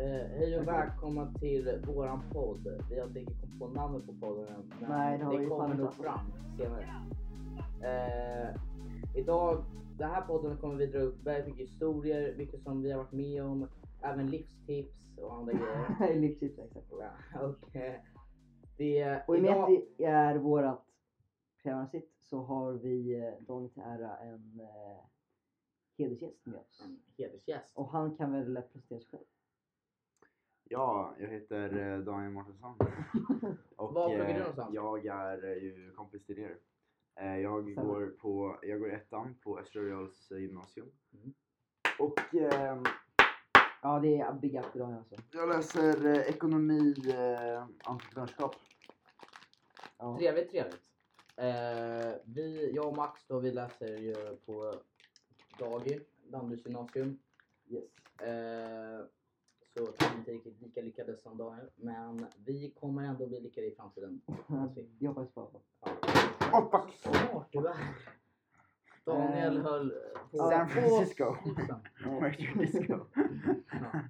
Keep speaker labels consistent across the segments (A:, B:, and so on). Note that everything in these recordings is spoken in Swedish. A: Eh, och välkomna till våran podd. Vi har inte riktigt kommit på namnet på podden än, men
B: Nej, det har vi
A: kommer
B: fan
A: nog
B: inte.
A: fram senare. Eh, idag, den här podden kommer vi dra upp väldigt mycket historier, mycket som vi har varit med om, även livstips och andra grejer.
B: Livstips exakt.
A: Ja, och, eh, det,
B: Och i och med att
A: idag,
B: det är vårat premiärsitt så har vi eh, Daniel till ära en eh, hedersgäst med oss.
A: en hedersgäst.
B: Och han kan väl presentera sig själv.
C: Ja, jag heter eh, Daniel Mårtensson. Och,
A: Var pluggar du
C: eh,
A: någonstans?
C: Jag är eh, ju kompis till er. Eh, Jag
B: Stämmer.
C: går, på, jag går i ettan på Östra Reals eh, gymnasium.
A: Mm.
C: Och eh,
B: Ja det är big up till Daniel alltså.
C: jag läser eh, ekonomi, eh, entreprenörskap.
B: Ja.
A: Trevligt, trevligt. Eh, vi, jag och Max då, vi läser ju på Dagi, Danderyds gymnasium.
B: Yes.
A: Eh, så kanske inte riktigt lika lyckade som Daniel, men vi kommer ändå bli lyckade i framtiden.
B: Jag hoppas på
C: Hoppa!
A: Smart du är! Daniel
B: Eh,
A: höll på...
C: San Francisco.
B: Eh,
C: Where you disco?
A: Ja.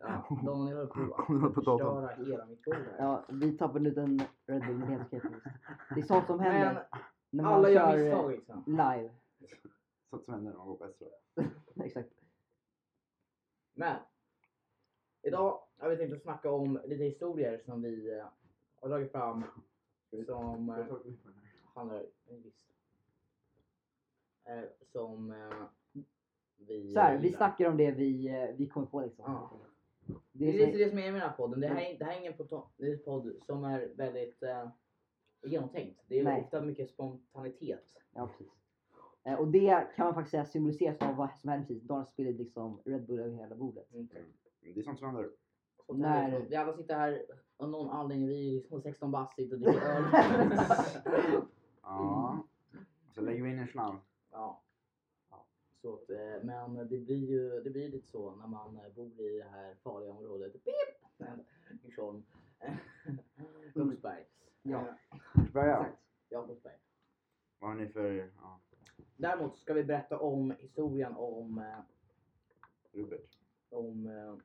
A: Ja, Daniel höll på
C: Kom du
A: att
C: på datorn?
A: förstöra hela mitt bord här.
B: Ja, vi tappade ut en Red Bull med helt okej. Det är sånt som händer
A: Men
B: när man
A: alla gör
B: kör, eh,
A: misstag liksom.
B: live.
C: Sånt som händer när man går på Östra.
B: Exakt.
A: Men idag har vi tänkt att snacka om lite historier som vi eh, har dragit fram som eh, handlar visst, eh, som eh, vi
B: Så här,
A: eh,
B: vi
A: gillar.
B: snackar om det vi, eh, vi kom på liksom.
A: Ja.
B: Det
A: Det är
B: är
A: lite
B: så, Mm.
A: det som är med den här podden. Det här, är- det här är ingen pota- det är en podd som är väldigt eh, genomtänkt. Det är
B: Nej.
A: ofta mycket spontanitet.
B: ja, precis. Eh, Och det kan man faktiskt säga symboliseras av vad som hände precis. Daniel spillde liksom Red Bull över hela bordet.
A: Mm.
C: Det är sånt som händer.
A: Spontanitet.
B: När-
A: Vi alla sitter här av någon anledning, vi är liksom 16 bast, sitter och dricker öl.
C: Ja.
A: Mm.
C: Så lägger vi in en slant.
A: Ja. Så, att, eh, men det blir ju det blir lite så när man eh, bor i det här farliga området. Pip! Djursholm. Lundsberg.
B: Ja.
C: Mm.
A: Eh,
C: Börja.
B: Exakt.
A: Ja, Lundsberg.
C: Vad har ni för... Ja,
A: Däremot ska vi berätta om historien om, eh,
C: Rupert.
A: om eh,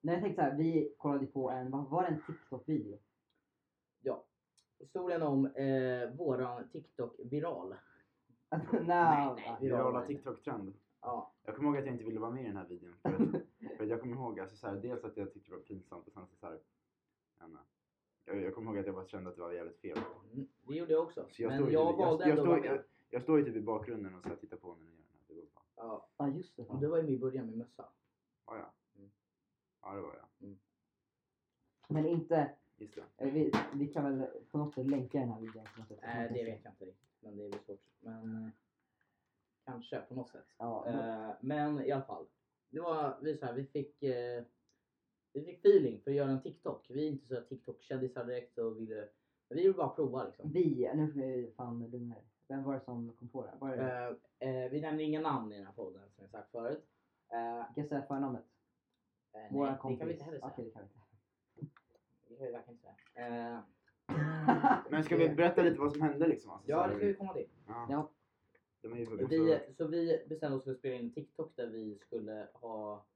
B: Nej, jag tänkte så här, vi kollade på en, vad var det, en TikTok-video?
A: historien om eh, våran TikTok viral.
B: Alltså, nej,
A: nej.
B: nej.
C: Virala TikTok-trend.
A: Ja,
C: Jag kommer ihåg att jag inte ville vara med i den här videon. För att, för att jag kommer ihåg alltså, så här, dels att jag tyckte det var pinsamt och sen så, så här, jag, vet inte. jag, jag kommer ihåg att jag bara kände att det var jävligt fel.
A: mm, det gjorde jag också.
C: Så jag
A: men
C: står ju
A: jag
C: typ- jag,
A: valde
C: jag,
A: ändå att vara
C: står,
A: med.
C: jag, jag står ju typ i bakgrunden och så här, tittar på när ni gör den här. Det var fan.
A: Ja,
B: Ja, just det. fan.
A: du var ju med i början med mössa.
C: Ja, ja.
A: Mm.
C: Ja, det var jag.
B: Men inte,
C: Just det.
B: eh, vi, vi kan väl på något sätt länka den här videon. på något sätt.
A: Nej, Eh, det vet jag inte riktigt. Men det är väl svårt. Men eh, kanske på något sätt.
B: Ja, men-
A: Eh, men i alla fall. Det var vi så här, vi fick eh, vi fick feeling för att göra en TikTok. Vi är inte så här TikTok-kändisar direkt och ville vi ville bara prova liksom.
B: Vi, nu får vi fan lugna er. Vem var det som kom på det? här? Var det
A: Eh, eh, vi nämner inga namn i den här podden som jag sagt förut. Eh, eh,
B: Kan jag säga förnamnet?
A: nej,
B: Våra
A: det
B: kompis.
A: kan vi inte heller säga.
B: Okej, det kan vi inte.
A: Det kan vi verkligen inte säga. Eh,
C: Men ska vi berätta lite vad som hände liksom? Alltså, så
A: ja,
C: här,
A: det ska vi komma till.
C: ja.
B: Ja,
C: De är ju
A: Vi,
C: vi...
A: så vi bestämde oss för att spela in en TikTok där vi skulle ha...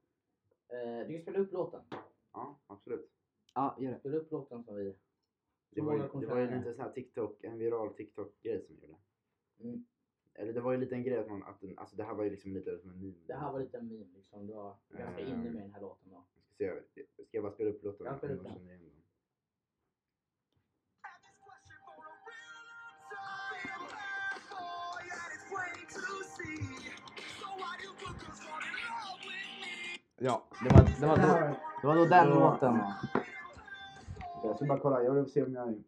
A: Eh, vi spela upp låten.
C: Ja, absolut.
B: ja gör det.
A: Spela upp låten som vi...
C: Det
A: Hur
C: var, ju,
A: många
C: det var ju
A: konserter?
C: lite sån här TikTok, en viral TikTok-grej som gjorde.
A: Mm.
C: Eller det var ju lite en grej att man, att den, alltså det här var ju liksom lite som en meme.
A: Det här var lite en meme liksom. Det var ganska
C: Ehm.
A: inne med den här låten då.
C: Ska, se, ska jag bara spela upp låten?
A: Ja,
C: om
A: spela upp
C: jag
A: den.
C: känner igen den? Ja, det var, det var, då, det var då den låten. Jag ska bara kolla, jag vill se om jag...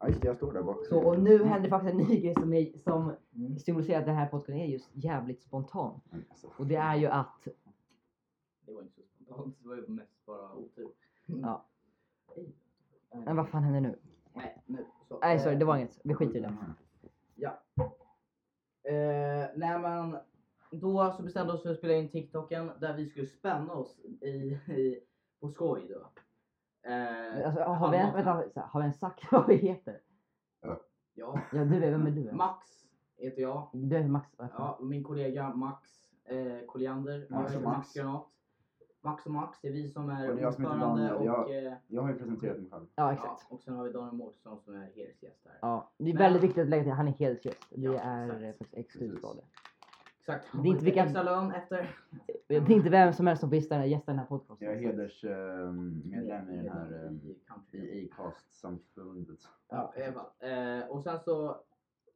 C: Ja just det, jag står där bak.
B: Så, och nu händer faktiskt en ny grej som, är, som
A: Mm.
B: symboliserar att den här podcasten är just jävligt spontan.
C: Alltså,
B: Och det är ju att,
A: Det var inte så spontant. Det var ju mest bara otur.
B: ja.
A: Nej,
B: Men vad fan händer nu?
A: Nej, nu, så.
B: Nej sorry, det var inget. Vi skiter i det.
A: Ja. Eh, nej men, då så bestämde vi oss för att spela in TikToken där vi skulle spänna oss i, i, på skoj då. Eh,
B: Alltså, har, vi, vänta, så här, har vi ens sagt vad vi heter?
A: ja.
B: Ja du är, vem är du?
A: Max heter jag.
B: Du är Max. vad fan?
A: Ja, min kollega Max eh, Colliander.
C: Max och
A: Jag heter
C: Max.
A: Max Granat. Max och Max, det är vi som är
C: Och det är jag som heter
A: ordförande och...
C: Daniel, jag-
A: eh,
C: Jag har ju presenterat mig själv.
B: Ja,
A: ja,
B: exakt.
A: och sen har vi Daniel Mårtensson som är hedersgäst här.
B: Ja, det är
A: Men-
B: väldigt viktigt att lägga till. Han är hedersgäst. Det
A: Ja,
B: är
A: exakt.
B: eh, faktiskt exklusivt
C: Precis.
B: av det.
A: Exakt.
B: Det är inte vilka-
A: Extra lön efter.
B: Det är inte vem som helst som får gästa den här- gästa den här podcasten.
C: Jag är
B: så att-
C: hedersmedlem i den här eh,
A: I country.
C: i Acast-samfundet.
A: Ja, i alla fall. eh, och sen så,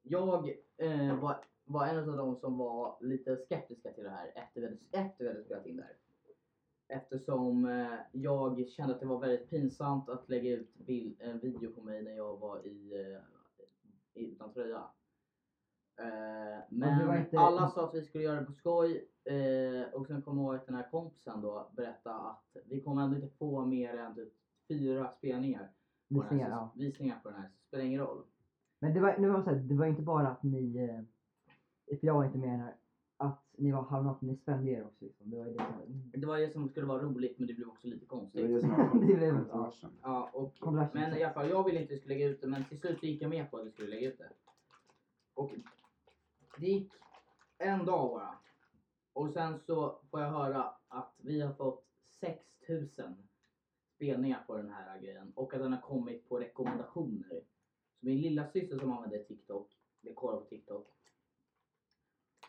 A: jag eh, var, var en av de som var lite skeptiska till det här efter vi hade, efter vi hade spelat in det här. Eftersom eh, jag kände att det var väldigt pinsamt att lägga ut bild, en video på mig när jag var i, eh, i utan tröja. Eh,
B: det
A: men
B: var inte-
A: alla sa att vi skulle göra det på skoj eh, och sen kom jag ihåg att den här kompisen då berättade att vi kommer ändå inte få mer än typ fyra spelningar på den här
B: Visningar,
A: säs-
B: ja.
A: visningar på den här, så spelar ingen roll.
B: Men det var, nu var det så här, det var inte bara att ni, eh, för jag var inte med här, att ni var halvnatt, ni spände er också. Liksom. Det var ju det som,
A: Det var det som skulle vara roligt men det blev också lite
C: Det var
A: konstigt.
C: det som var
B: Det är väl-
C: kontroversen.
A: Ja, och,
B: Kontroversen,
A: men
B: exakt.
A: i alla fall, jag ville inte att vi skulle lägga ut det men till slut gick jag med på att vi skulle lägga ut det. Och det gick en dag bara. Och sen så får jag höra att vi har fått 6000 spelningar på den här grejen och att den har kommit på rekommendationer. Så min lilla syster som använder TikTok, vi kollar på TikTok,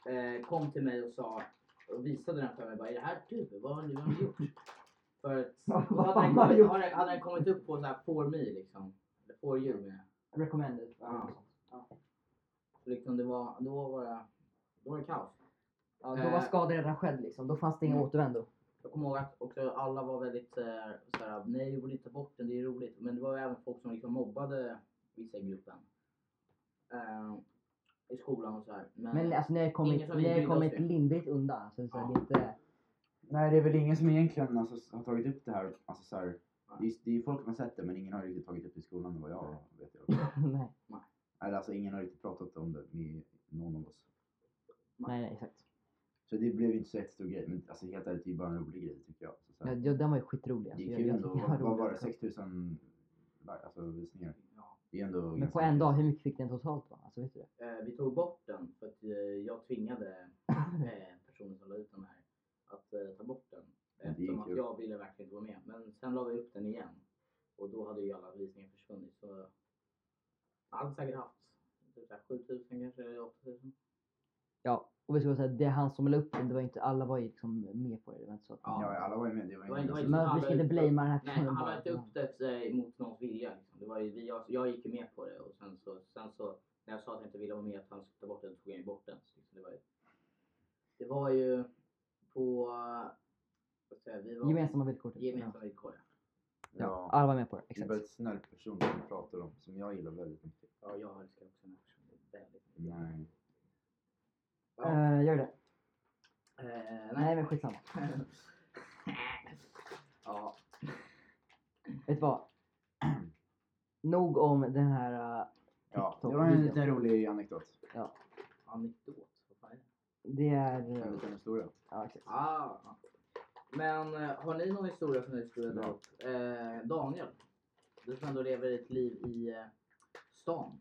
A: eh, kom till mig och sa och visade den för mig. Bara, är det här du? Vad har ni, vad har ni gjort? För att
B: Vad
A: hade den
B: har ni
A: kommit,
B: gjort?
A: hade den- hade den kommit upp på så här for me liksom. Eller for you menar jag.
B: recommended.
A: Ja.
B: Ja.
A: Så Liksom det var, då var det, då var det kaos.
B: Ja, då var
A: Eh.
B: skadan redan skedd liksom, då fanns det ingen
A: Mm.
B: återvändo.
A: Jag kommer ihåg att också alla var väldigt eh, såhär, nej borde inte ta bort den, det är roligt. Men det var även folk som liksom mobbade vissa i gruppen. Eh, I skolan och sådär. Men,
B: Men alltså ni har kommit,
A: Mm. Ingen som brydde
B: ni har
A: oss
B: kommit
A: det.
B: lindrigt undan. Alltså, så här,
A: Ja.
B: det är inte,
C: Nej, det är väl ingen som egentligen alltså, har tagit upp det här. Alltså, så här det, är, det är folk som har sett det, men ingen har riktigt tagit upp det i skolan än vad jag vet. Jag.
B: nej,
C: Eller alltså, ingen har riktigt pratat om det med någon av oss.
B: nej, nej, exakt.
C: Så det blev inte så jättestor grej. Men alltså, helt ärligt, det är bara en rolig grej tycker jag. Så, så
B: Ja,
C: här,
B: ja, den var ju skitrolig. Alltså,
C: det
B: jag,
C: är kul
B: jag
C: ändå.
B: tycker jag har
C: Vad
B: roligt
C: var det?
B: också.
C: 6000 like, alltså, visningar.
A: ja,
C: Det är ändå
B: Men
C: ganska
B: på en
C: mycket.
B: dag, hur mycket fick den totalt? Va? Alltså, vet du det?
A: eh, vi tog bort den för att eh, jag tvingade eh, personen som la ut den här att eh, ta bort den.
C: det är
A: Eftersom
C: kul.
A: att jag ville verkligen inte vara med. Men sen la vi upp den igen. Och då hade ju alla visningar försvunnit. Så jag hade säkert haft typ så här 7000 kanske eller 8000.
B: Ja, och vi ska säga att det är han som la upp den, det var ju inte, alla var ju liksom med på det. Det var inte så att,
C: Ja, alla var ju med. Det var
A: Det var inte-
C: ingen
A: det var inte-
B: Men
C: som-
B: vi ska inte blamea den här
A: Nej, han la
B: bara.
A: inte upp det eh, mot någons vilja. Liksom. Det var ju, vi, jag, jag gick ju med på det och sen så, sen så när jag sa att jag inte ville vara med att han skulle ta bort den tog jag ju bort den. Så liksom, det, var ju, det var ju på... eh, Vad säger jag, vi var,
B: Gemensamma villkor. typ.
A: gemensamma villkor. ja.
B: Ja,
C: Ja,
B: alla var med på det.
C: det är
B: Exakt.
C: bara ett snällt person som vi pratar om, som jag gillar väldigt mycket.
A: Ja, jag älskar också den här personen väldigt mycket.
C: Nej.
A: Ja.
B: Eh, gör det.
A: Eh,
B: Nej
A: nej.
B: men skitsamma.
A: ja,
B: Vet du vad? Nog om den här, eh,
C: Ja, det
B: TikTok
C: var en
B: video.
C: liten rolig anekdot.
A: anekdot. Vad fan är det?
B: det är...
C: En
B: eh,
C: liten historia.
B: Ja, exakt.
A: Ah, ja. men eh, har ni någon historia som ni skulle dra upp? Eh, Daniel, du som ändå lever ett liv i eh, stan,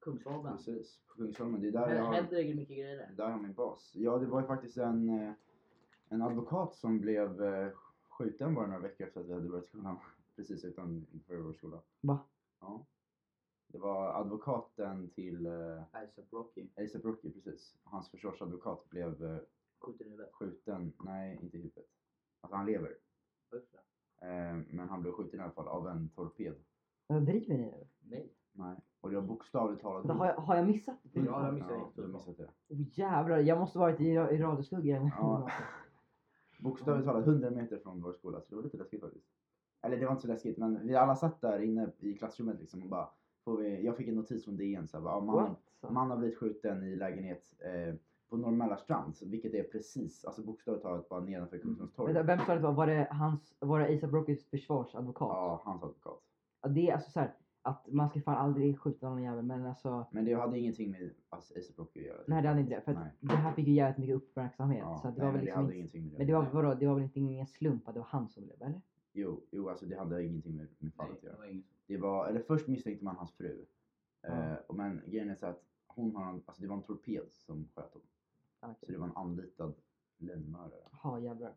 A: Kungsholmen.
C: Precis, på Kungsholmen. Det är där jag
A: Här
C: har,
A: händer det mycket grejer
C: det
A: där.
C: där jag har min bas. Ja, det var ju faktiskt en, eh, en advokat som blev eh, skjuten bara några veckor efter att vi hade börjat skolan. Precis utan inför vår skola.
B: Va?
C: Ja. Det var advokaten till eh,
A: Isaac Rocky,
C: ASAP Rocky, precis. Hans försvarsadvokat blev eh,
A: skjuter i huvudet.
C: skjuten, nej inte i huvudet. Alltså han lever.
A: Usch, ja.
C: Eh, men han blev skjuten i alla fall av en torped.
B: Vad driver ni nu?
A: Nej.
C: Nej. Och det var bokstavligt talat...
B: Har jag, har jag missat det?
A: Ja, jag har missat det.
C: du har missat det.
B: Åh jävlar, jag måste varit i, ra- i radioskuggan.
C: Ja. Bokstavligt talat 100 meter från vår skola, så det var lite läskigt faktiskt. Eller det var inte så läskigt, men vi alla satt där inne i klassrummet liksom och bara... Får vi, jag fick en notis från DN så här, bara, ja, man,
B: What?
C: man har blivit skjuten i lägenhet eh, på Norr Mälarstrand, vilket är precis, alltså bokstavligt talat bara nedanför Kungsholms torg.
B: Vänta, vem sa Mm. det var? Var det, hans, var det ASAP Rockys försvarsadvokat?
C: Ja, hans advokat.
B: Ja, Det är alltså så här, att man ska fan aldrig skjuta någon jävel men alltså
C: Men det hade ingenting med alltså, ASAP Rocky att göra.
B: Nej det hade inte det. För
C: Nej.
B: att det här fick ju jävligt mycket uppmärksamhet.
C: Ja,
B: så att det
C: nej,
B: var
C: men
B: väl
C: det
B: liksom
C: hade
B: inte...
C: ingenting med det
B: Men det var, vadå, det var väl inte ingen slump att det var han som blev eller?
C: Jo, jo, alltså det hade ingenting med, med fallet
A: Nej,
C: att
A: det
C: göra.
A: var inget.
C: Det var, eller först misstänkte man hans fru.
B: Ja.
C: Eh, och men grejen är så att hon har, en- alltså det var en torped som sköt honom.
B: Ja,
C: Så
B: okej.
C: det var en anlitad lönnmördare.
B: Jaha jävlar.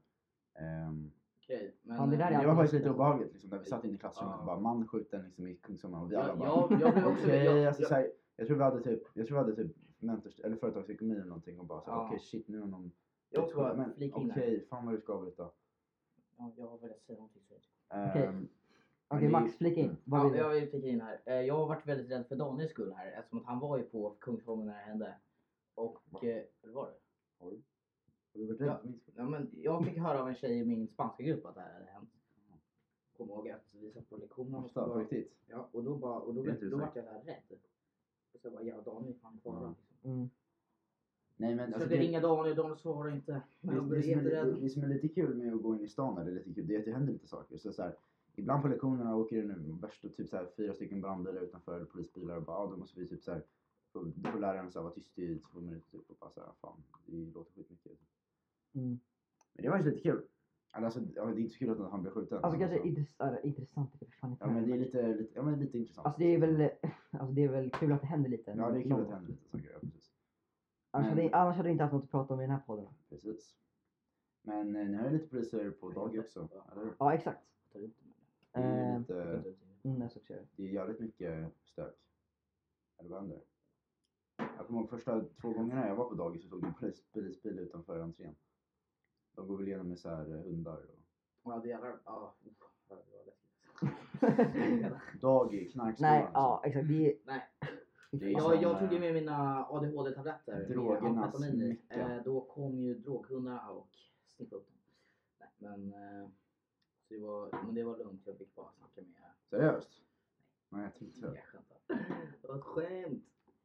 C: Ehm,
A: Okej, men...
B: Fan, det där är
A: eh,
C: Det var faktiskt lite obehagligt liksom, där vi
A: Ja.
C: satt inne i klassrummet och
A: Ja.
C: bara man skjuten liksom, i Kungsholmen och vi alla
A: jag,
C: bara
A: jag, jag blev också...
C: Okej,
A: Jag,
C: alltså,
A: jag,
C: såhär, jag tror vi hade typ, jag tror vi hade typ mentors, eller företagsekonomi eller någonting och bara såhär,
A: Ja.
C: okej shit nu har någon...
A: jag också bara
C: Men
A: flika
C: Okej,
A: in här.
C: fan vad du skavligt då.
A: Ja, jag har velat säga någonting så jag
B: Okej.
C: Ehm,
B: Okej
C: det- Mm.
B: Max, flika in. Vad
A: ja,
B: vill
A: jag
B: du?
A: vill flika in här. Eh, Jag har varit väldigt rädd för Daniels skull här eftersom att han var ju på Kungsholmen när det hände. Och,
C: Va?
A: eh, vad var det?
C: har du varit rädd
A: Ja.
C: för min skull?
A: Ja, men jag fick höra av en tjej i min spanska grupp att det här hade hänt. Kom ihåg att vi satt på lektionen och, så
C: Ofta, på
A: bara,
C: riktigt.
A: ja, och då, bara, och då,
C: Det är
A: då,
C: inte
A: då
C: så.
A: vart jag där rädd. Och så bara, ja Daniel är fan kvar.
C: Ja.
A: Liksom.
B: Mm.
C: Nej men
A: Jag
C: alltså,
A: försökte ringa Daniel, Daniel svarade inte.
C: Det,
A: Jag
C: det,
A: blev
C: som är, det,
A: jätterädd.
C: det som är lite kul med att gå in i stan eller lite kul, det är att det händer lite saker. Så, så här, ibland på lektionerna åker det nu värsta typ så här, fyra stycken brandbilar utanför eller polisbilar och bara ah, då måste vi typ så här, få- då får läraren så här, vara tyst i två minuter typ och bara så här, fan det låter skitmycket.
B: Mm.
C: Men det var ju lite kul. Alltså, ja, det är inte så kul att han blev skjuten.
B: Alltså
C: men
B: kanske intressant, intressant det är fan inte
C: Ja men det är
B: här.
C: lite, lite, ja, men lite intressant.
B: Alltså det är väl, alltså det är väl kul att det händer lite.
C: Ja det är kul
B: Någon
C: att det
B: gång.
C: händer lite saker, ja precis.
B: Annars hade,
C: Men-
B: annars hade vi inte haft något att prata om i den här podden.
C: precis. Men eh, ni har ju lite poliser på dagis också, eller hur?
B: Ja exakt.
A: Ta ut mig.
C: Det är ju
B: Eh,
A: Ta
C: lite,
A: ut mig.
B: Mm, jag ska också göra det.
C: det är jävligt mycket stök. Eller vad händer? Jag kommer ihåg första två gångerna jag var på dagis så såg det en polis, polisbil utanför entrén. De går väl igenom med så här eh, hundar och...
A: Ja, det jävlar. Ja, uff, det var läskigt.
C: Dagis, knarkskolan
B: Nej,
C: alltså.
B: ja exakt. Det är...
A: Nej.
C: Det är ju
A: Jag,
C: som,
A: jag
C: eh,
A: tog ju med mina ADHD-tabletter. med
C: Drogernas
A: amfetamin i.
C: mecka.
A: Eh, Då kom ju droghundarna och sniffade upp dem. Nej, Men, eh, så det var, men det var lugnt, jag fick bara snacka med...
C: Seriöst? Nej jag tänkte
A: Jag
C: det.
A: skämtar. Det var ett skämt!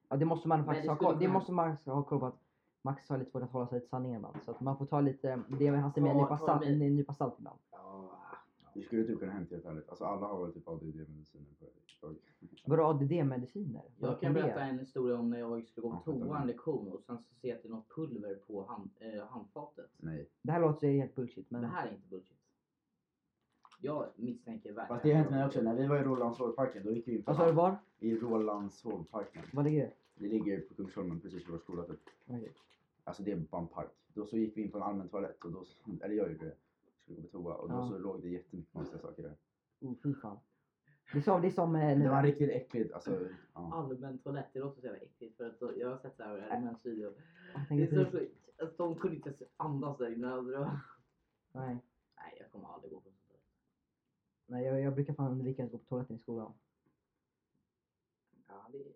B: Ja, det måste man faktiskt
A: det
B: ha
A: skulle
B: koll Det
A: kunna-
B: måste man ha koll på att Max har lite svårt att hålla sig till sanningen ibland. Så att man får ta lite, det han säger med en
A: Ta-
B: nypa
A: ta
B: salt-
A: med-
B: en nypa salt ibland.
A: Ja,
C: Det skulle typ kunna hänt helt ärligt. Alltså alla har väl typ ADD-mediciner på dagis.
B: Vadå ADD-mediciner?
A: jag kan berätta en historia om när jag skulle gå
C: Ja,
A: på toa
C: vänta.
A: en lektion och sen så ser jag att det är något pulver på hand, eh, handfatet.
C: Nej.
B: Det här låter ju helt bullshit men...
A: Det här är inte bullshit. Jag misstänker verkligen...
C: Fast det har hänt mig också. När vi var i Rålambshovparken då gick vi in på
B: Vad sa du var?
C: I Rålambshovparken.
B: Vad ligger det?
C: Det ligger på Kungsholmen precis vid vår skola typ.
B: Okej.
C: Alltså det är bara en park. Då så gick vi in på en allmän toalett och då, eller jag gjorde det. Skulle gå på toa och då
B: Ja.
C: så låg det jättemycket konstiga saker där.
B: Oh, fy fan. Det är som, det är som eh,
C: Det var
B: nu.
C: riktigt äckligt alltså. Ja.
A: Allmän toalett, det låter så jävla äckligt för att jag har sett det här i Allmäns video.
B: Jag
A: Det
B: tänker
A: är
B: inte-
A: så sjukt. Alltså, de kunde inte ens andas där inne. Alltså, det var...
B: Nej,
A: Nej, jag kommer aldrig gå på sånt där.
B: nej jag, jag brukar fan undvika att gå på toaletten i skolan.
A: Ja, det är...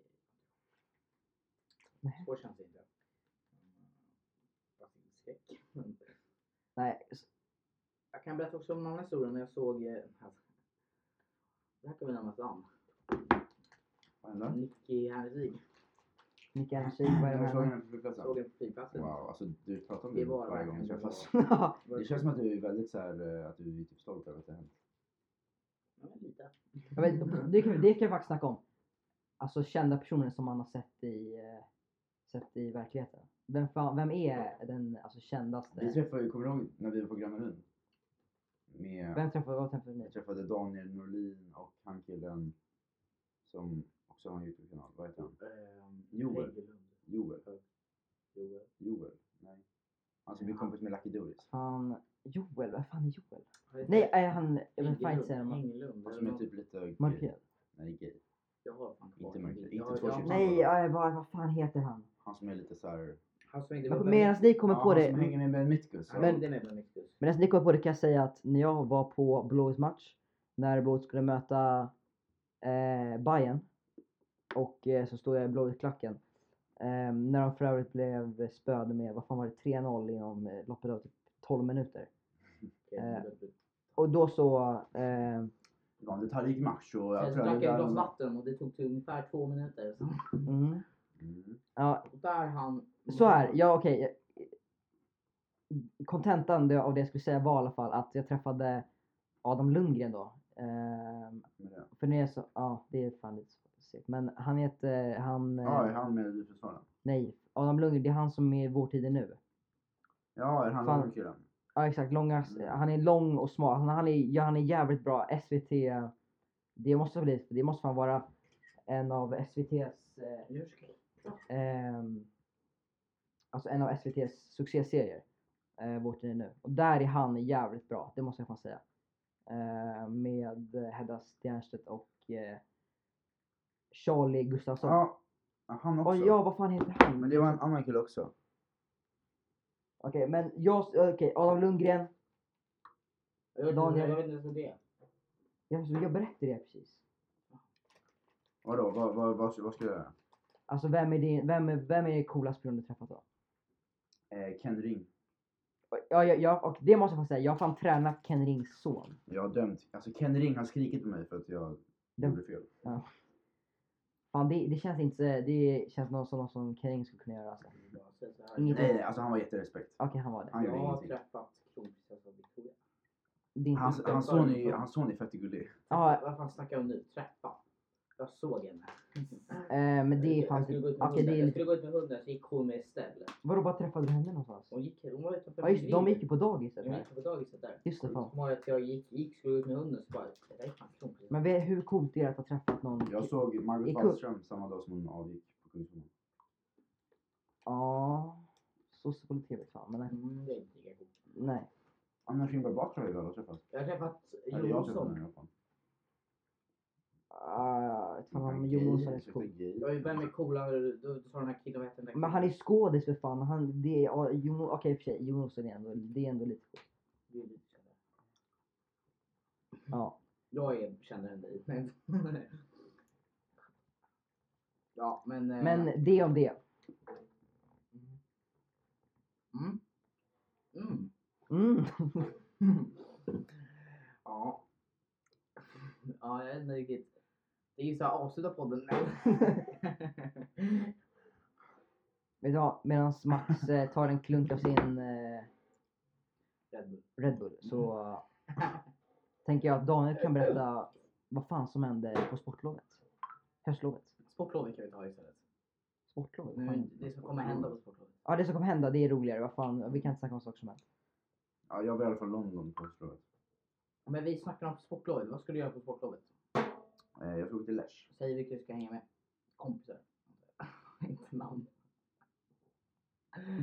B: Nej.
A: Svårt känns det inte. Mm, fast inte skräck. Men
B: Nej, s-
A: Jag kan berätta också om en annan historia när jag såg... eh, Här. Det här kan vi nämna namn.
C: Vad hände?
A: Nicky Herrevig.
B: Micke Andersson, vad är det
C: Jag såg
B: här?
C: henne
A: Såg
C: på flygplatsen.
A: henne på flygplatsen.
C: Wow, alltså du pratar om
A: Det
C: det
A: var
C: varje gång vi
A: verkligen
C: träffas.
B: Ja,
C: Det känns som att du är väldigt såhär, att du är typ stolt över att det har hänt.
A: Ja, men lite.
B: jag vet, det, kan, vi- det kan vi faktiskt snacka om. Alltså kända personer som man har sett i, eh, sett i verkligheten. Vem, fan, vem är den alltså,
C: Vi
B: kändaste?
C: träffade ju, kommer du ihåg när vi var på Gröna Lund? Med,
B: Vem träffade, vad träffade ni?
C: jag träffade Daniel Norlin och han killen som också har en Youtube-kanal. Vad heter han?
A: Ehm,
C: Joel.
A: Hägglund.
C: Joel?
A: Joel.
C: Joel? Nej. Han som blev kompis med Lucky Doris.
B: Han, Joel, vem fan är Joel?
A: Vad heter
B: Nej,
A: det?
B: är han, jag vill fan
A: Hägglund.
B: inte säga det.
A: Hägglund.
C: Han
A: eller
C: som är
A: något.
C: typ lite gay.
B: Markerad?
C: Nej, gay.
A: Jag har fan kvar
C: Inte
A: den
C: mörkt,
A: bilden.
C: inte
A: Jag-
C: två
A: jag-
C: tjusar.
B: Nej, ja, vad, vad fan heter han?
C: Han som är lite såhär...
A: Han som hängde med på
B: Medan ni kommer
C: Ja,
B: på
C: han
B: det,
C: som hänger med Benedictus.
A: Han
B: Men-
A: hängde med på Mixed Juice.
B: Men nästan lika på det kan jag säga att när jag var på Blåvitts match, när Blåvitt skulle möta eh, Bayern och eh, så stod jag i Blåvitt-klacken. Eh, när de för övrigt blev spöade med, vad fan var det, 3-0 inom eh, loppet av typ 12 minuter.
A: Okej,
B: Eh,
A: nu vet du.
B: Och då så, eh,
C: Det var en detaljrik match och jag
A: Jag
C: tror att
A: drack
C: det
A: ett
C: där-
A: glas vatten och det tog till ungefär två minuter. Så.
B: mm,
C: Mm.
B: ja,
A: Och där han... Mm.
B: så här, ja okej. Kontentan det- av det jag skulle säga var i alla fall att jag träffade Adam Lundgren då. Eh,
C: Med det.
B: För när jag sa, ja det är fan lite segt. Men han heter, han, eh,
C: Ja, är han med i försvaren?
B: nej, Adam Lundgren, det är han som är i vår tid nu.
C: Ja, är han
B: Fan.
C: den killen?
B: Ja exakt, långa,
C: Mm.
B: han är lång och smal. Han, han, är, ja, han är jävligt bra. SVT, det måste bli, det måste fan vara en av SVT's, eh,
A: Nu ska jag-
B: ehm, alltså en av SVT's succéserier. eh, vår tid nu. Och där är han jävligt bra, det måste jag fan säga. Eh, med Hedda Stjernstedt och eh, Charlie Gustafsson.
C: Ja, han
B: och
C: också.
B: ja, vad fan heter han?
C: Men det var en annan kille också.
B: Okej, men jag... Okej, Adam Lundgren.
A: Jag vet, inte,
B: Daniel.
A: jag vet inte ens vad det är.
B: Jag, jag berättade det precis.
C: Vadå, vad, vad, vad, vad ska jag göra?
B: Alltså vem är din... Vem är, vem är coolast person du träffat då?
C: Eh, Ken Ring.
B: Ja, ja, ja, och det måste jag fan säga. Jag har fan tränat Ken Rings son.
C: Jag har dömt. Alltså Ken Ring har skrikit på mig för att jag
B: Dömt.
C: gjorde fel.
B: Fan, det, det känns inte... så- Det känns något som, något som Ken Ring skulle kunna göra. Alltså.
A: Jag säger så här.
B: Inget-
C: Nej, nej, alltså han var jätterespekt.
B: Okej, han var det.
C: Han
A: Jag
C: gjorde
A: har
C: ingenting.
A: träffat kronprinsessan Victoria.
B: Din
C: Hans,
B: syster.
C: hans, son är, hans son är fett gullig.
B: Ja,
A: Vad fan snackar jag om nu? Träffa? Jag såg henne.
B: eh, men det är fan...
A: Jag skulle gå ut
B: Okej,
A: med
B: det är
A: hunden. Jag
B: lite...
A: skulle gå ut med hunden så gick hon med Estelle.
B: Vadå, var träffade du henne någonstans?
A: Hon gick, hon var utanför
B: Ja just det, de gick ju på dagis
A: De
B: eller?
A: gick på dagiset där.
B: Just det, fan.
A: Kommer ihåg att jag gick, gick skulle gå ut med hunden så bara, det där är fan kronprinsessan.
B: Men vet, hur coolt är det att ha träffat någon?
C: Jag såg
B: I
C: Margot
B: kul-
C: Wallström samma dag som hon avgick på Kungsholmen.
B: Ja, sosse på tv fan, men nej.
A: Mm, det är inte lika coolt.
B: nej.
C: Anna Kinberg Batra har ju alla träffat.
A: Jag har träffat
C: Eller jag har träffat
A: Jonsson.
C: henne i alla fall.
B: Ah, jag vet fan om
C: Han är
B: Jon
C: gay,
B: Jonsson är
C: ursäkta,
B: så cool.
C: gay.
A: Jag är Vem är coolare? Du, du, du sa den här killen, vad hette den där
B: Alltså- Men han är skådis för fan. Han, det är, ja, Jon, okej i och för sig, Jon Jonsson är ändå, det är ändå lite coolt.
A: Det är lite kändare.
B: Ja.
A: Jag är kändare än dig. men- ja, men... eh,
B: Men det om det.
A: Mm. Mm.
B: Mm.
A: ja. Ja, jag vet inte riktigt. Det är ju såhär, avsluta podden.
B: Vet du vad? Medan Max eh, tar en klunk av sin eh,
A: Red Bull.
B: Red Bull så eh, tänker jag att Daniel kan berätta vad fan som hände på sportlovet. Höstlovet.
A: Sportlovet kan vi ta istället.
B: Sportlovet?
A: Nu,
B: Fan.
A: det som kommer hända på sportlovet.
B: Ja det som kommer hända, det är roligare. Vad fan, vi kan inte snacka om saker som helst.
C: Ja, jag var i alla fall i London på höstlovet.
A: Men vi snackar om sportlovet. Vad ska du göra på sportlovet?
C: Eh, jag såg till Lesh.
A: Säg vilka du ska hänga med. Kompisar. Inte namn.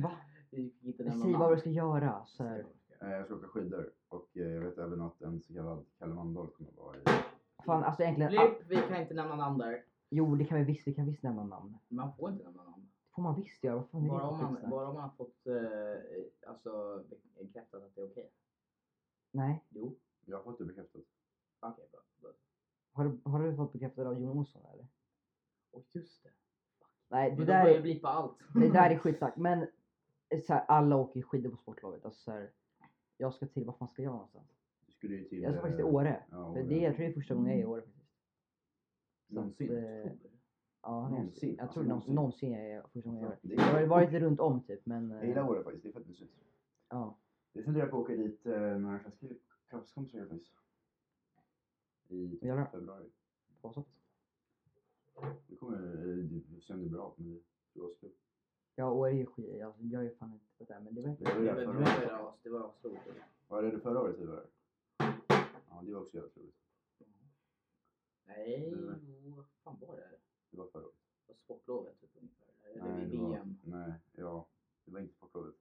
B: Va?
A: Vi fick inte nämna
B: Säg vad
A: namn.
B: du ska göra. Så här.
C: Eh, jag ska åka skidor. Och eh, jag vet även att en så kallad Kalle Mandahl kommer att vara i...
B: Fan alltså egentligen. Ah,
A: Blipp, vi kan inte nämna namn där.
B: jo det kan vi visst, vi kan visst nämna namn.
A: Man får inte nämna namn.
B: Det får man visst göra. Vad fan är det
A: Bara om
B: för
A: man,
B: skitsnack?
A: bara om man har fått eh, alltså, bekräftat att det är okej.
B: Nej.
A: Jo.
C: Jag har fått det bekräftat.
A: Okej, bra. bra.
B: Har du, har du fått bekräftat av Jon Olsson eller?
A: Och just det.
B: Nej det
A: Men då får jag
B: där,
A: blippa allt.
B: det där är skitsnack. Men så här, alla åker skidor på sportlovet. Alltså, så här, jag ska till, vad fan ska jag någonstans?
C: Du skulle ju till...
B: Jag ska faktiskt till
C: eh,
B: Åre.
C: Ja,
B: För
C: Åre.
B: det, jag tror det är liksom- första gången jag är i Åre faktiskt. Så att,
C: Någonsin.
B: eh, Ja,
C: Någonsin,
B: någonsin. Jag
C: alltså
B: tror någonsin,
C: någonsin.
B: någonsin jag är första gången jag är i Åre.
C: Det
B: Jag har
C: är,
B: varit runt om typ men...
C: jag
B: eh,
C: gillar Åre faktiskt, det är fett mysigt.
B: Ja.
C: Jag funderar på att åka dit eh, några klassiska- klasskompisar gör faktiskt. I typ
B: Jävlar.
C: februari.
B: På sånt.
C: Det kommer eh, se om det blir av, men det tror jag ska.
B: Ja, och är ju skit. Jag, jag är fan inte på det här, men det var
C: Jag var
A: Det
C: ju
A: var- det
C: där förra
A: var-
C: året.
A: det var- det var asroligt.
C: Var jag det förra året vi var där? Ja, det var också jävligt roligt.
A: Nej,
C: Mm.
A: jo, vad fan var det?
C: Det var förra året.
A: På sportlovet typ ungefär. Eller
C: Nej,
A: vid
C: det var-
A: VM.
C: Nej, ja. Det var inte sportlovet.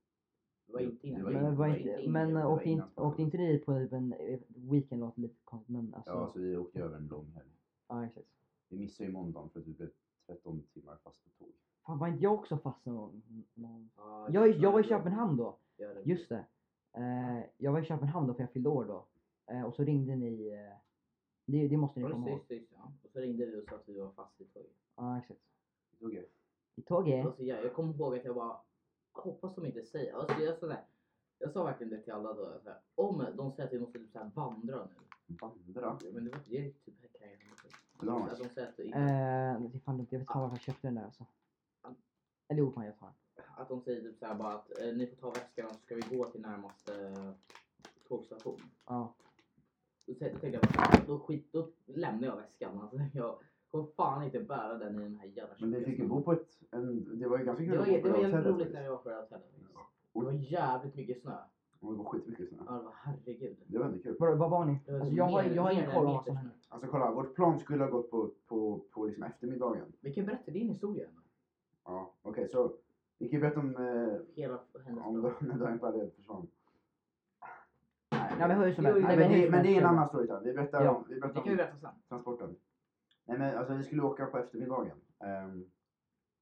A: Det var inte innan.
C: Det var
B: Men,
C: in-
B: var
C: det
B: inte,
A: innan.
B: men
A: Det var
B: åkte,
C: innan
B: inte,
C: sporten.
B: åkte inte ni på typ en eh, weekend låter lite konstigt men alltså.
C: Ja,
B: Ja,
C: så vi åkte över en lång helg.
B: exakt.
C: Vi missade ju måndagen för att vi blev 13 timmar fast på tåg.
B: Fan var inte jag också fast någon gång? Någon-
A: Ja,
B: Jag, jag var
A: tror
B: i
A: det.
B: Köpenhamn då.
A: Ja, det-
B: Just det. Eh, jag var i Köpenhamn då för jag fyllde år då. Eh, och så ringde ni. Eh, det, det måste
A: Ja,
B: ni
A: Just
B: komma
A: det,
B: ihåg.
A: just det, just det. Ja. Och så ringde du och sa att vi var fast i tåget.
B: Ja exakt.
C: Vi tog ju-
B: I tåget?
A: Alltså, jag, jag kommer ihåg att jag bara, jag hoppas de inte säger. Alltså, jag, sa där, jag sa verkligen det till alla då. Så här, om de säger att vi måste typ så här vandra nu.
C: Vandra.
A: Men det var det är typ här kan jag inte.
C: Lars.
A: Att de säger att, vi-
B: Eh, det är fan dumt. Jag vet inte varför jag köpte den där alltså. Eller jo fan jag tar den.
A: att de säger typ så här bara att eh, ni får ta väskan så ska vi gå till närmaste eh, tågstation.
B: Ja.
A: Då tä- tänkte jag bara, då, skit, då lämnar jag väskan. Alltså, jag kommer fan inte bära den i den här jävla
C: Men vi
A: tjocka
C: fick ju
A: stan.
C: bo på ett... En, det var ju ganska
A: Det
C: kul
A: var,
C: att bo
A: det
C: på
A: var
C: det
A: jävligt
C: hotellet liksom.
A: roligt när vi
C: faktiskt.
A: var på det här hotellet. Det var jävligt mycket snö.
C: Och det var skitmycket snö.
A: Ja, det var herregud.
C: Det var ändå kul.
B: Vadå, vad var ni?
A: Det var
B: Alltså,
A: typ
B: jag, har,
A: mer-
B: jag har
A: mer
B: ingen
A: än
B: koll
A: en
B: om vad
A: meter
B: som
A: snö.
B: hände.
C: Alltså kolla, vårt plan skulle ha gått på, på, på liksom eftermiddagen.
A: Vi kan berätta din historia. ändå.
C: Ja, okej så Vi kan ju berätta om, eh,
A: Hela hennes
C: om
A: dag.
C: då- när Daniel Paredes försvann. Nej,
B: Ja men hur som
A: Jo,
B: helst.
A: jo,
C: Nej,
B: Nej,
C: men,
B: hur
C: det,
B: som
C: men det är en
B: helst.
C: annan storytime. Vi berättar
B: Ja.
C: om, vi
A: Det
C: berättar
A: kan vi
C: om
A: berätta sen.
C: transporten. Nej men alltså vi skulle åka på eftermiddagen. Ehm,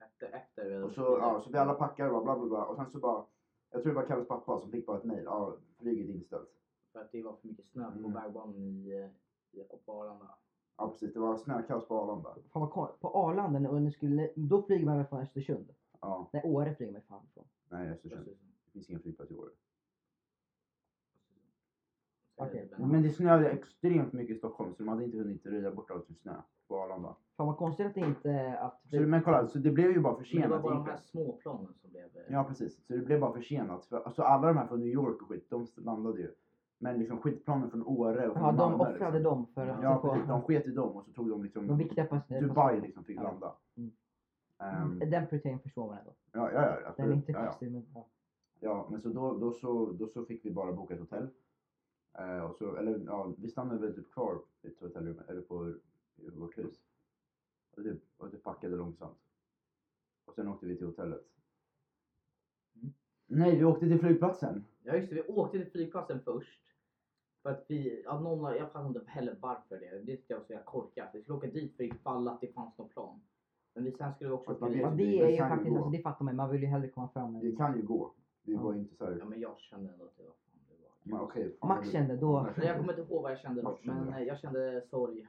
A: Efter, efter vi
C: och så, ja, så vi alla packade och bara bla bla bla. Och sen så bara, jag tror det var Kalles pappa som fick bara ett mejl. Ja, flyget är inställt.
A: För att det var för mycket snö på
C: Mm.
A: bergbanan i, eh, i på Arlanda.
C: Ja precis, det var snökaos på Arlanda.
B: Fan vad kon- På Arlanda, när- och ni skulle, då flyger man väl från Östersund?
C: Ja,
B: Nej, Åre flyger man fan från.
C: nej Östersund.
A: Precis.
C: Det finns ingen flygplats i år.
A: Så är det
B: Okej,
A: väl-
C: Men det snöade extremt mycket i Stockholm så de hade inte hunnit röja bort all sin snö på Arlanda.
B: Fan vad konstigt att det inte... Att
C: Så, men kolla, så det blev ju bara
A: Men det
C: försenat.
A: var bara de här
C: egentligen.
A: småplanen som blev...
B: typ.
A: eh,
C: Ja precis, så det blev bara försenat. För, alltså alla de här från New York och skit, de landade ju. Men liksom skitplanen från Åre och från
B: Jaha, de
C: Malmö,
B: offrade
C: liksom.
B: dem för att
C: Ja
B: få
C: precis, de sket i dem och så tog de liksom
B: de viktiga pass-
C: Dubai
B: passagerarna.
C: liksom fick
B: Ja.
C: landa.
B: Mm.
C: Ehm,
B: Den prioriteringen förstår man ändå.
C: ja, ja, ja,
B: Den är
C: absolut.
B: inte
C: ja, ja.
B: konstig men... Ja.
C: ja, men så då, då, så, då så fick vi bara boka ett hotell. Eh, och så, eller ja, vi stannade väl typ kvar i ett hotellrum, eller på i vårt hus. Och typ, och typ packade långsamt. Och sen åkte vi till hotellet.
A: Mm.
C: Nej, vi åkte till flygplatsen.
A: Ja just det, vi åkte till flygplatsen först. För att vi, av någon av- jag fattar inte heller varför det. Det tyckte jag var så jävla korkat. Vi skulle åka dit för ifall att det fanns någon plan. Men vi, sen skulle vi också
C: Fast
A: åka
C: man
A: dit.
B: Ja,
C: vet
B: det är ju
C: kan
B: faktiskt,
C: gå.
B: alltså, det fattar man man vill ju hellre komma fram. än-
C: Det kan ju gå. Det
B: Ja.
C: var ju inte så här...
A: Ja men jag kände ändå att det var fan det var.
C: Men okej, fan,
B: Max
C: det-
B: kände då.
A: Men jag kommer inte ihåg vad jag kände då.
C: Vad kände
A: Men
C: du?
A: eh, jag kände sorg.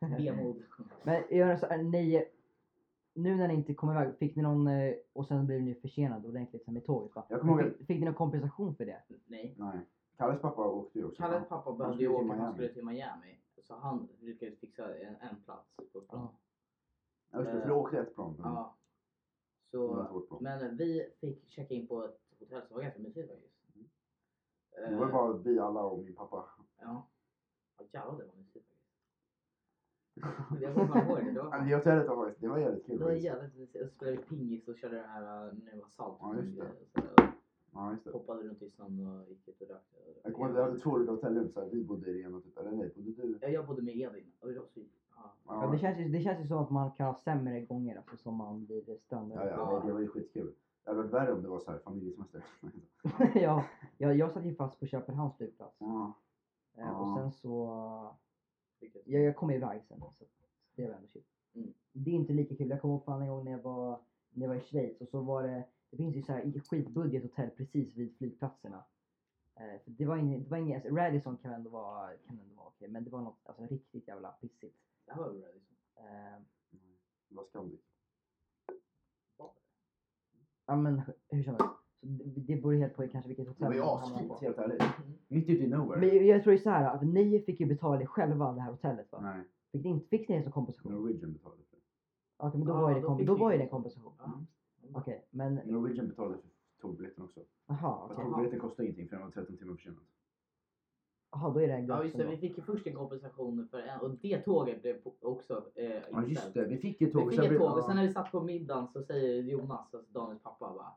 A: Vemod.
B: Men gör så här, ni, nu när ni inte kom iväg, fick ni någon, eh, och sen blev ni försenade ordentligt sen med tåget va?
C: Jag kommer
B: Men
C: ihåg-
B: fick, fick ni någon kompensation för det?
A: Nej.
C: Nej. Kalles pappa åkte ju också.
A: Kalles pappa behövde
C: skulle
A: ju
C: till
A: åka, han
C: Miami.
A: skulle till Miami. Så han lyckades fixa en, en plats på ett
C: Mm.
A: plan.
C: Ja, just det, för det åkte ett plan. men
A: Eh, Ja.
C: det var ett
A: Så,
C: vårt plan.
A: men vi fick checka in på ett hotell som var ganska mysigt faktiskt.
C: Mm. Det var
A: Eh,
C: bara vi alla och min pappa.
A: Ja. Ja jävlar det var mysigt. Jag kommer fan ihåg det. Det var,
C: Ja, Det hotellet var faktiskt, det var jävligt kul.
A: det var
C: faktiskt.
A: jävligt mysigt. Och så spelade vi pingis och körde det här eh, nu var salt.
C: Ja, just det.
A: Och så där,
C: Ja, just det.
A: och Hoppade runt i snön och gick ut och rökte.
C: Jag kommer ihåg att vi hade två olika hotellrum, så här, vi bodde i det ena typ, eller nej, bodde du?
A: Ja, jag bodde med Edvin. Och det var så... Ja.
B: Ja, det, känns ju, det känns ju som att man kan ha sämre gånger alltså, som man blir stöndad.
C: ja, ja, nej, det var ju skitkul. Det hade varit värre om det var så här familjesemester.
B: ja, jag, jag satt ju fast på Köpenhamns flygplats.
C: Ja,
B: Eh, Och
C: Ja.
B: sen så...
A: Vilket-
B: Jag, jag kom iväg sen. Så det var ändå kul.
A: Mm.
B: Det är inte lika kul. Jag kommer ihåg fan en gång när jag var, när jag var i Schweiz och så var det... Det finns ju så här skitbudget hotell precis vid flygplatserna. Eh, för det var ingen... Det var ingen alltså, Radisson kan ändå vara, kan ändå vara okej. Men det var något alltså, riktigt jävla pissigt.
A: Det här var väl bra liksom.
B: Eh,
C: det var skamligt.
B: ja men hu- hur som helst. Så det, det beror helt på kanske vilket
C: Det
B: hotell
C: var ju
B: man hamnar på.
C: asfint, helt ärligt.
A: Mm.
C: Mitt ute i nowhere.
B: Men jag tror ju så här att ni fick ju betala er själva det här hotellet va?
C: Nej,
B: Fick ni, inte- fick ni det som kompensation?
C: Norwegian betalade för
B: Okej men då,
A: Ja,
B: var ju det
A: då
B: kom,
A: fick
B: då
A: vi
B: var ju
A: ju-
B: det kompensation.
A: Ja.
B: Okej men
C: det. Norwegian betalade för tågbiljetten också.
B: Jaha,
C: Fast
B: okej.
C: tågbiljetten kostade ingenting för den var 13 timmar försenad.
B: Jaha, då är det
A: Ja
B: gratis
A: just det, vi
B: ändå.
A: fick ju först en kompensation för en och det tåget blev po- också eh,
C: Ja, just
A: inställt.
C: det. Vi fick ett tåg.
A: Vi
C: och
A: fick
C: sen
A: ett
C: blev-
A: tåg och
C: ja.
A: sen när vi satt på middagen så säger Jonas, alltså Daniels pappa bara.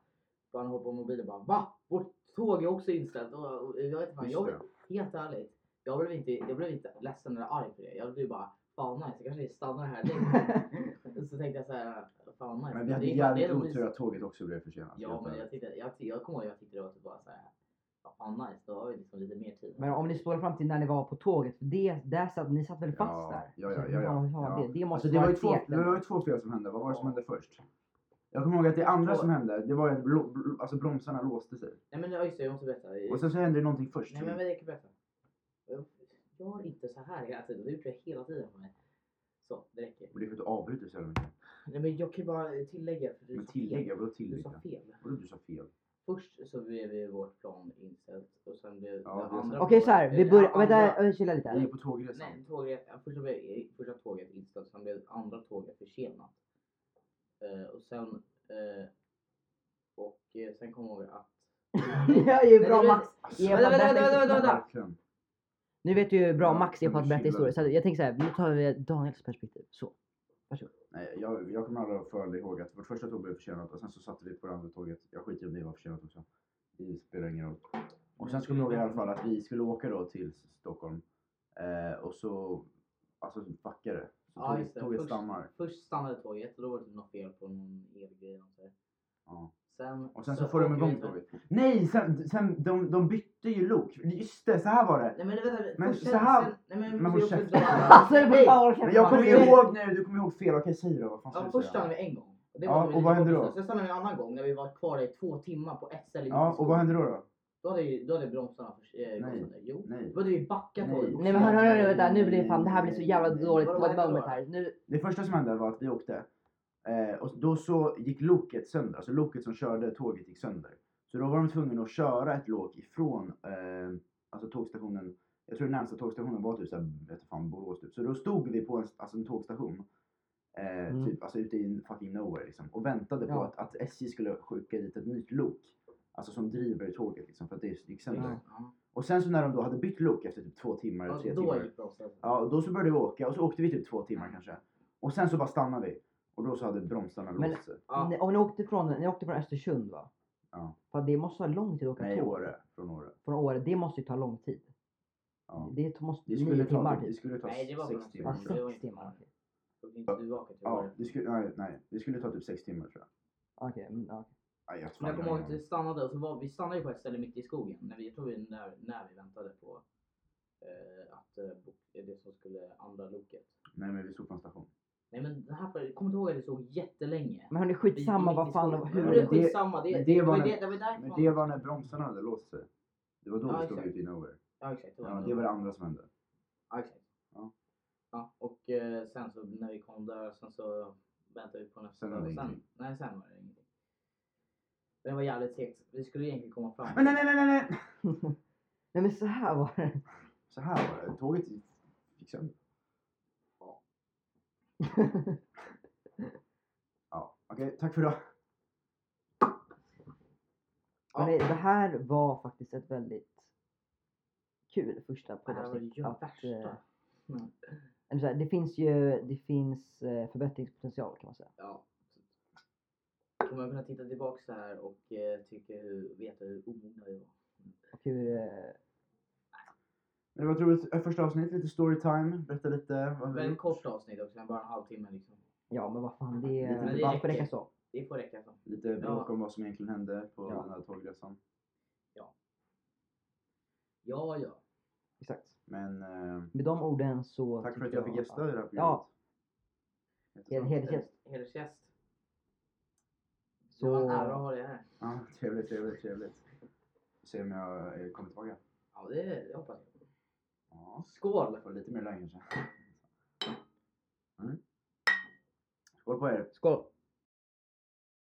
A: Bara han hoppar på mobilen bara VA? Vårt tåg är också inställt. Och, och, jag vet inte,
C: Just
A: jag,
C: det.
A: helt ärligt. Jag blev, inte, jag blev inte ledsen eller arg för det. Jag blev bara fan nice, jag kanske stannar här längre. så tänkte jag såhär, fan nice.
C: Men vi hade
A: Det är fan- det är
C: jävligt
A: de
C: otur
A: mys-
C: att tåget också blev försenat.
A: Ja
C: helt
A: men
C: ärligt.
A: jag, tyckte, jag, jag kommer ihåg jag tyckte det var typ bara såhär, vad fan nice, då har vi liksom lite mer tid.
B: Men om ni spolar fram till när ni var på tåget, för det, där satt, ni satt väl fast
C: Ja,
B: där?
C: ja, ja,
B: Så,
C: ja,
B: fan,
C: ja.
B: fan, Det, det måste
C: Alltså det var ju
B: vara
C: två,
B: ett
C: det
B: segt
C: var ju
B: ändå.
C: två fel som hände. Vad var det som
A: Ja.
C: hände först? Jag kommer ihåg att det andra
A: Två.
C: som hände, det var ju att blo- bl- alltså bromsarna låste sig.
A: Nej men ja, just det, jag måste berätta.
C: Och sen så hände det någonting först.
A: Nej men men jag kan berätta. Jag gör inte så här hela tiden. Du gjort det hela tiden för mig. Så, det räcker.
C: Och det är för att du avbryter så jävla mycket.
A: Nej men jag kan ju bara tillägga. För du
C: Men
A: sa
C: tillägga, vadå
A: fel. Du sa
C: tillägga?
A: fel.
C: Vadå du sa fel?
A: Först så blev ju vårt plan inställt och sen blev
C: Ja,
A: det
C: det är sant.
A: andra
B: Okej
A: planet-
B: så här, vi
A: eh,
B: börjar...
A: andra-
B: Vänta, jag chilla lite.
C: Vi är
B: här.
C: på tågresan.
A: Nej, tåget, första, blev- första tåget inställt, sen blev andra tåget försenat. Eh, och sen... Eh, och eh, sen kom jag ihåg att...
B: Jag är ju
A: Nej,
B: bra
A: nej,
B: Max.
C: Alltså,
B: Ge
A: vänta,
B: mig-
A: vänta, vänta, vänta, vänta.
C: verkligen.
B: Nu vet ju hur bra
C: Ja,
B: Max är på
C: kan
B: att
C: du
B: berätta
C: chilla
B: historier.
C: lite?
B: Så jag tänker så här, nu tar vi Daniels perspektiv. Så.
C: Nej, jag, jag kommer aldrig för ihåg att vårt första tåg blev försenat och sen så satte vi på det andra tåget. Jag skiter i om det var försenat också. Det spelar ingen roll. Och sen så kommer jag ihåg i alla fall att vi skulle åka då till Stockholm. Eh, och så, alltså fuckade det. Så
A: Ja, just
C: tåget,
A: det.
C: tåget
A: Först-
C: stannar.
A: Först stannade tåget och då var det typ något fel på någon elgrej. eller något sådär.
C: Ja.
A: Sen,
C: Och sen så, får de
A: åker vi
C: igång
A: till-
C: Tobbe. Nej, sen, sen de, de bytte ju lok. Just det, så här var det.
A: Nej men vänta,
C: Men
A: först-
C: så här-
A: sen- nej, men vi
C: men håll
A: måste ju
C: käften.
A: också-
B: Alltså jag
A: Nej,
B: bara orkar
C: Men
B: inte.
C: jag kommer
A: men-
C: ihåg nu, du kommer ihåg fel. Okej, säg då. Vad fan ska
A: Ja,
C: du
A: först
C: säga?
A: stannade vi en gång. Och det
C: Ja,
A: var med
C: och
A: lite
C: vad hände
A: kompisar.
C: då?
A: Sen stannade vi en annan gång när vi var kvar i två timmar på ett ställe.
C: Ja, och vad hände då? då?
A: Då hade, ju- då hade bromsarna förs- eh, gått
C: Nej.
A: sönder. Jo.
C: Nej.
A: Då hade vi backat på
C: Nej.
B: Nej men hörru, hörru, vänta nu blir det fan, det här blir så jävla dåligt
A: Vadå,
B: på
A: vadå,
B: moment
A: vadå?
B: här. Nu,
C: Det första som hände var att vi åkte. Eh, och då så gick loket sönder. Alltså loket som körde tåget gick sönder. Så då var de tvungna att köra ett lok ifrån eh, alltså tågstationen. Jag tror den närmsta tågstationen var typ såhär, jag vet inte fan, Borås typ. Så då stod vi på en, alltså en tågstation. Eh,
B: Mm.
C: Typ alltså ute i en fucking nowhere liksom. Och väntade på
B: Ja.
C: att, att SJ skulle skicka dit ett nytt lok. Alltså som driver tåget liksom för att det gick sönder.
B: Ja.
A: Ja.
C: Och sen så när de då hade bytt lok efter typ två timmar eller
A: Mm. Ja,
C: tre
A: Då
C: timmar.
A: gick bromsarna.
C: Ja, och då så började vi åka och så åkte vi typ två timmar kanske. Och sen så bara stannade vi. Och då så hade bromsarna
B: Men-
C: låst sig.
A: Ja.
B: ni- om ni åkte från, ni åkte från Östersund va?
C: Ja.
B: Fan det måste vara lång tid att åka
C: Nej,
B: tåg.
C: Åre. Från Åre.
B: Från Åre, det måste ju ta lång tid.
C: Ja.
B: Det måste
C: Det
B: ju
C: skulle
B: nio timmar
C: ta, det
B: typ.
C: skulle ta
A: Nej, det var
C: sex
A: bara-
B: Ja,
C: timmar. tror jag.
A: Det var
B: sex
A: inte-
B: timmar. okej.
A: Så vi gick tillbaka till
C: Ja,
A: Åre.
C: det skulle, nej, nej, det skulle ta typ sex timmar tror jag.
B: Okej, mm, ja.
C: Aj, jag
A: Men jag kommer
C: fan,
A: ihåg att vi stannade och så var, vi stannade ju på ett ställe mitt i skogen. När vi, jag tror vi när, när vi väntade på eh, att eh, bo- det som skulle andra loket.
C: Nej men vi stod på en station.
A: Nej men det här, jag kommer inte ihåg att det såg jättelänge.
B: Men hörni skitsamma vad fan,
A: hur
C: Men
B: hur
A: det? är
C: det-
A: Skitsamma, det,
C: men
A: det,
C: det
A: det,
C: var
A: var
C: när-
A: det, det var
C: Men
A: därifrån.
C: det var när bromsarna hade låst sig. Det var då
A: Ja,
C: vi stod
A: exakt.
C: ute i nowhere.
A: Ja exakt. Det var
C: Ja,
A: det.
C: det var det andra som hände.
A: Ja, exakt.
C: Ja.
A: Ja, och eh, sen så när vi kom där sen så väntade vi på nästa.
C: Sen var det
A: och
C: ingenting.
A: Nej sen var det ingenting. Det var jävligt segt. Vi skulle egentligen komma fram.
C: Men nej, nej, nej, nej, nej!
B: Nej men så här var det.
C: Så här var det. Tåget gick- gick sönder. Ja, okej. tack för idag.
A: Ja.
B: Hörni, det här var faktiskt ett väldigt kul första
A: Det här var ju
B: poddavsnitt.
A: det
B: att, eh,
A: värsta. Mm.
B: eller så här, Det finns ju det finns eh, förbättringspotential kan man säga.
A: Ja. Kommer jag kunna titta tillbaks så här och eh, tycka hur, veta hur omogna jag var?
B: Och hur, eh,
C: Men det var ett roligt första avsnitt. Lite storytime. Berätta lite vad vi har
A: Väldigt
C: gjort.
A: kort avsnitt också, bara en halvtimme liksom.
B: ja men vad fan det,
C: Men det
B: det bara
A: räcker.
B: får räcka så.
A: Det får räcka så.
C: Lite bråk
A: Ja.
C: om vad som egentligen hände på
B: Ja.
C: den här tågresan.
A: Ja, ja.
B: Exakt.
C: Men eh,
B: Med de orden så...
C: tack för att
B: tycker
C: jag fick gästa i det här programmet.
B: Ja.
C: Jättebra.
B: Hel- Hedersgäst.
A: Hedersgäst. Det var en ära att
B: Så...
A: ha dig här.
C: Ja, trevligt, trevligt, trevligt. Se om jag eh, kommer tillbaka.
A: Ja, det, det hoppas jag.
C: Ja,
A: Skål!
C: får lite mer lögn kanske. Mm. Skål på er.
B: Skål!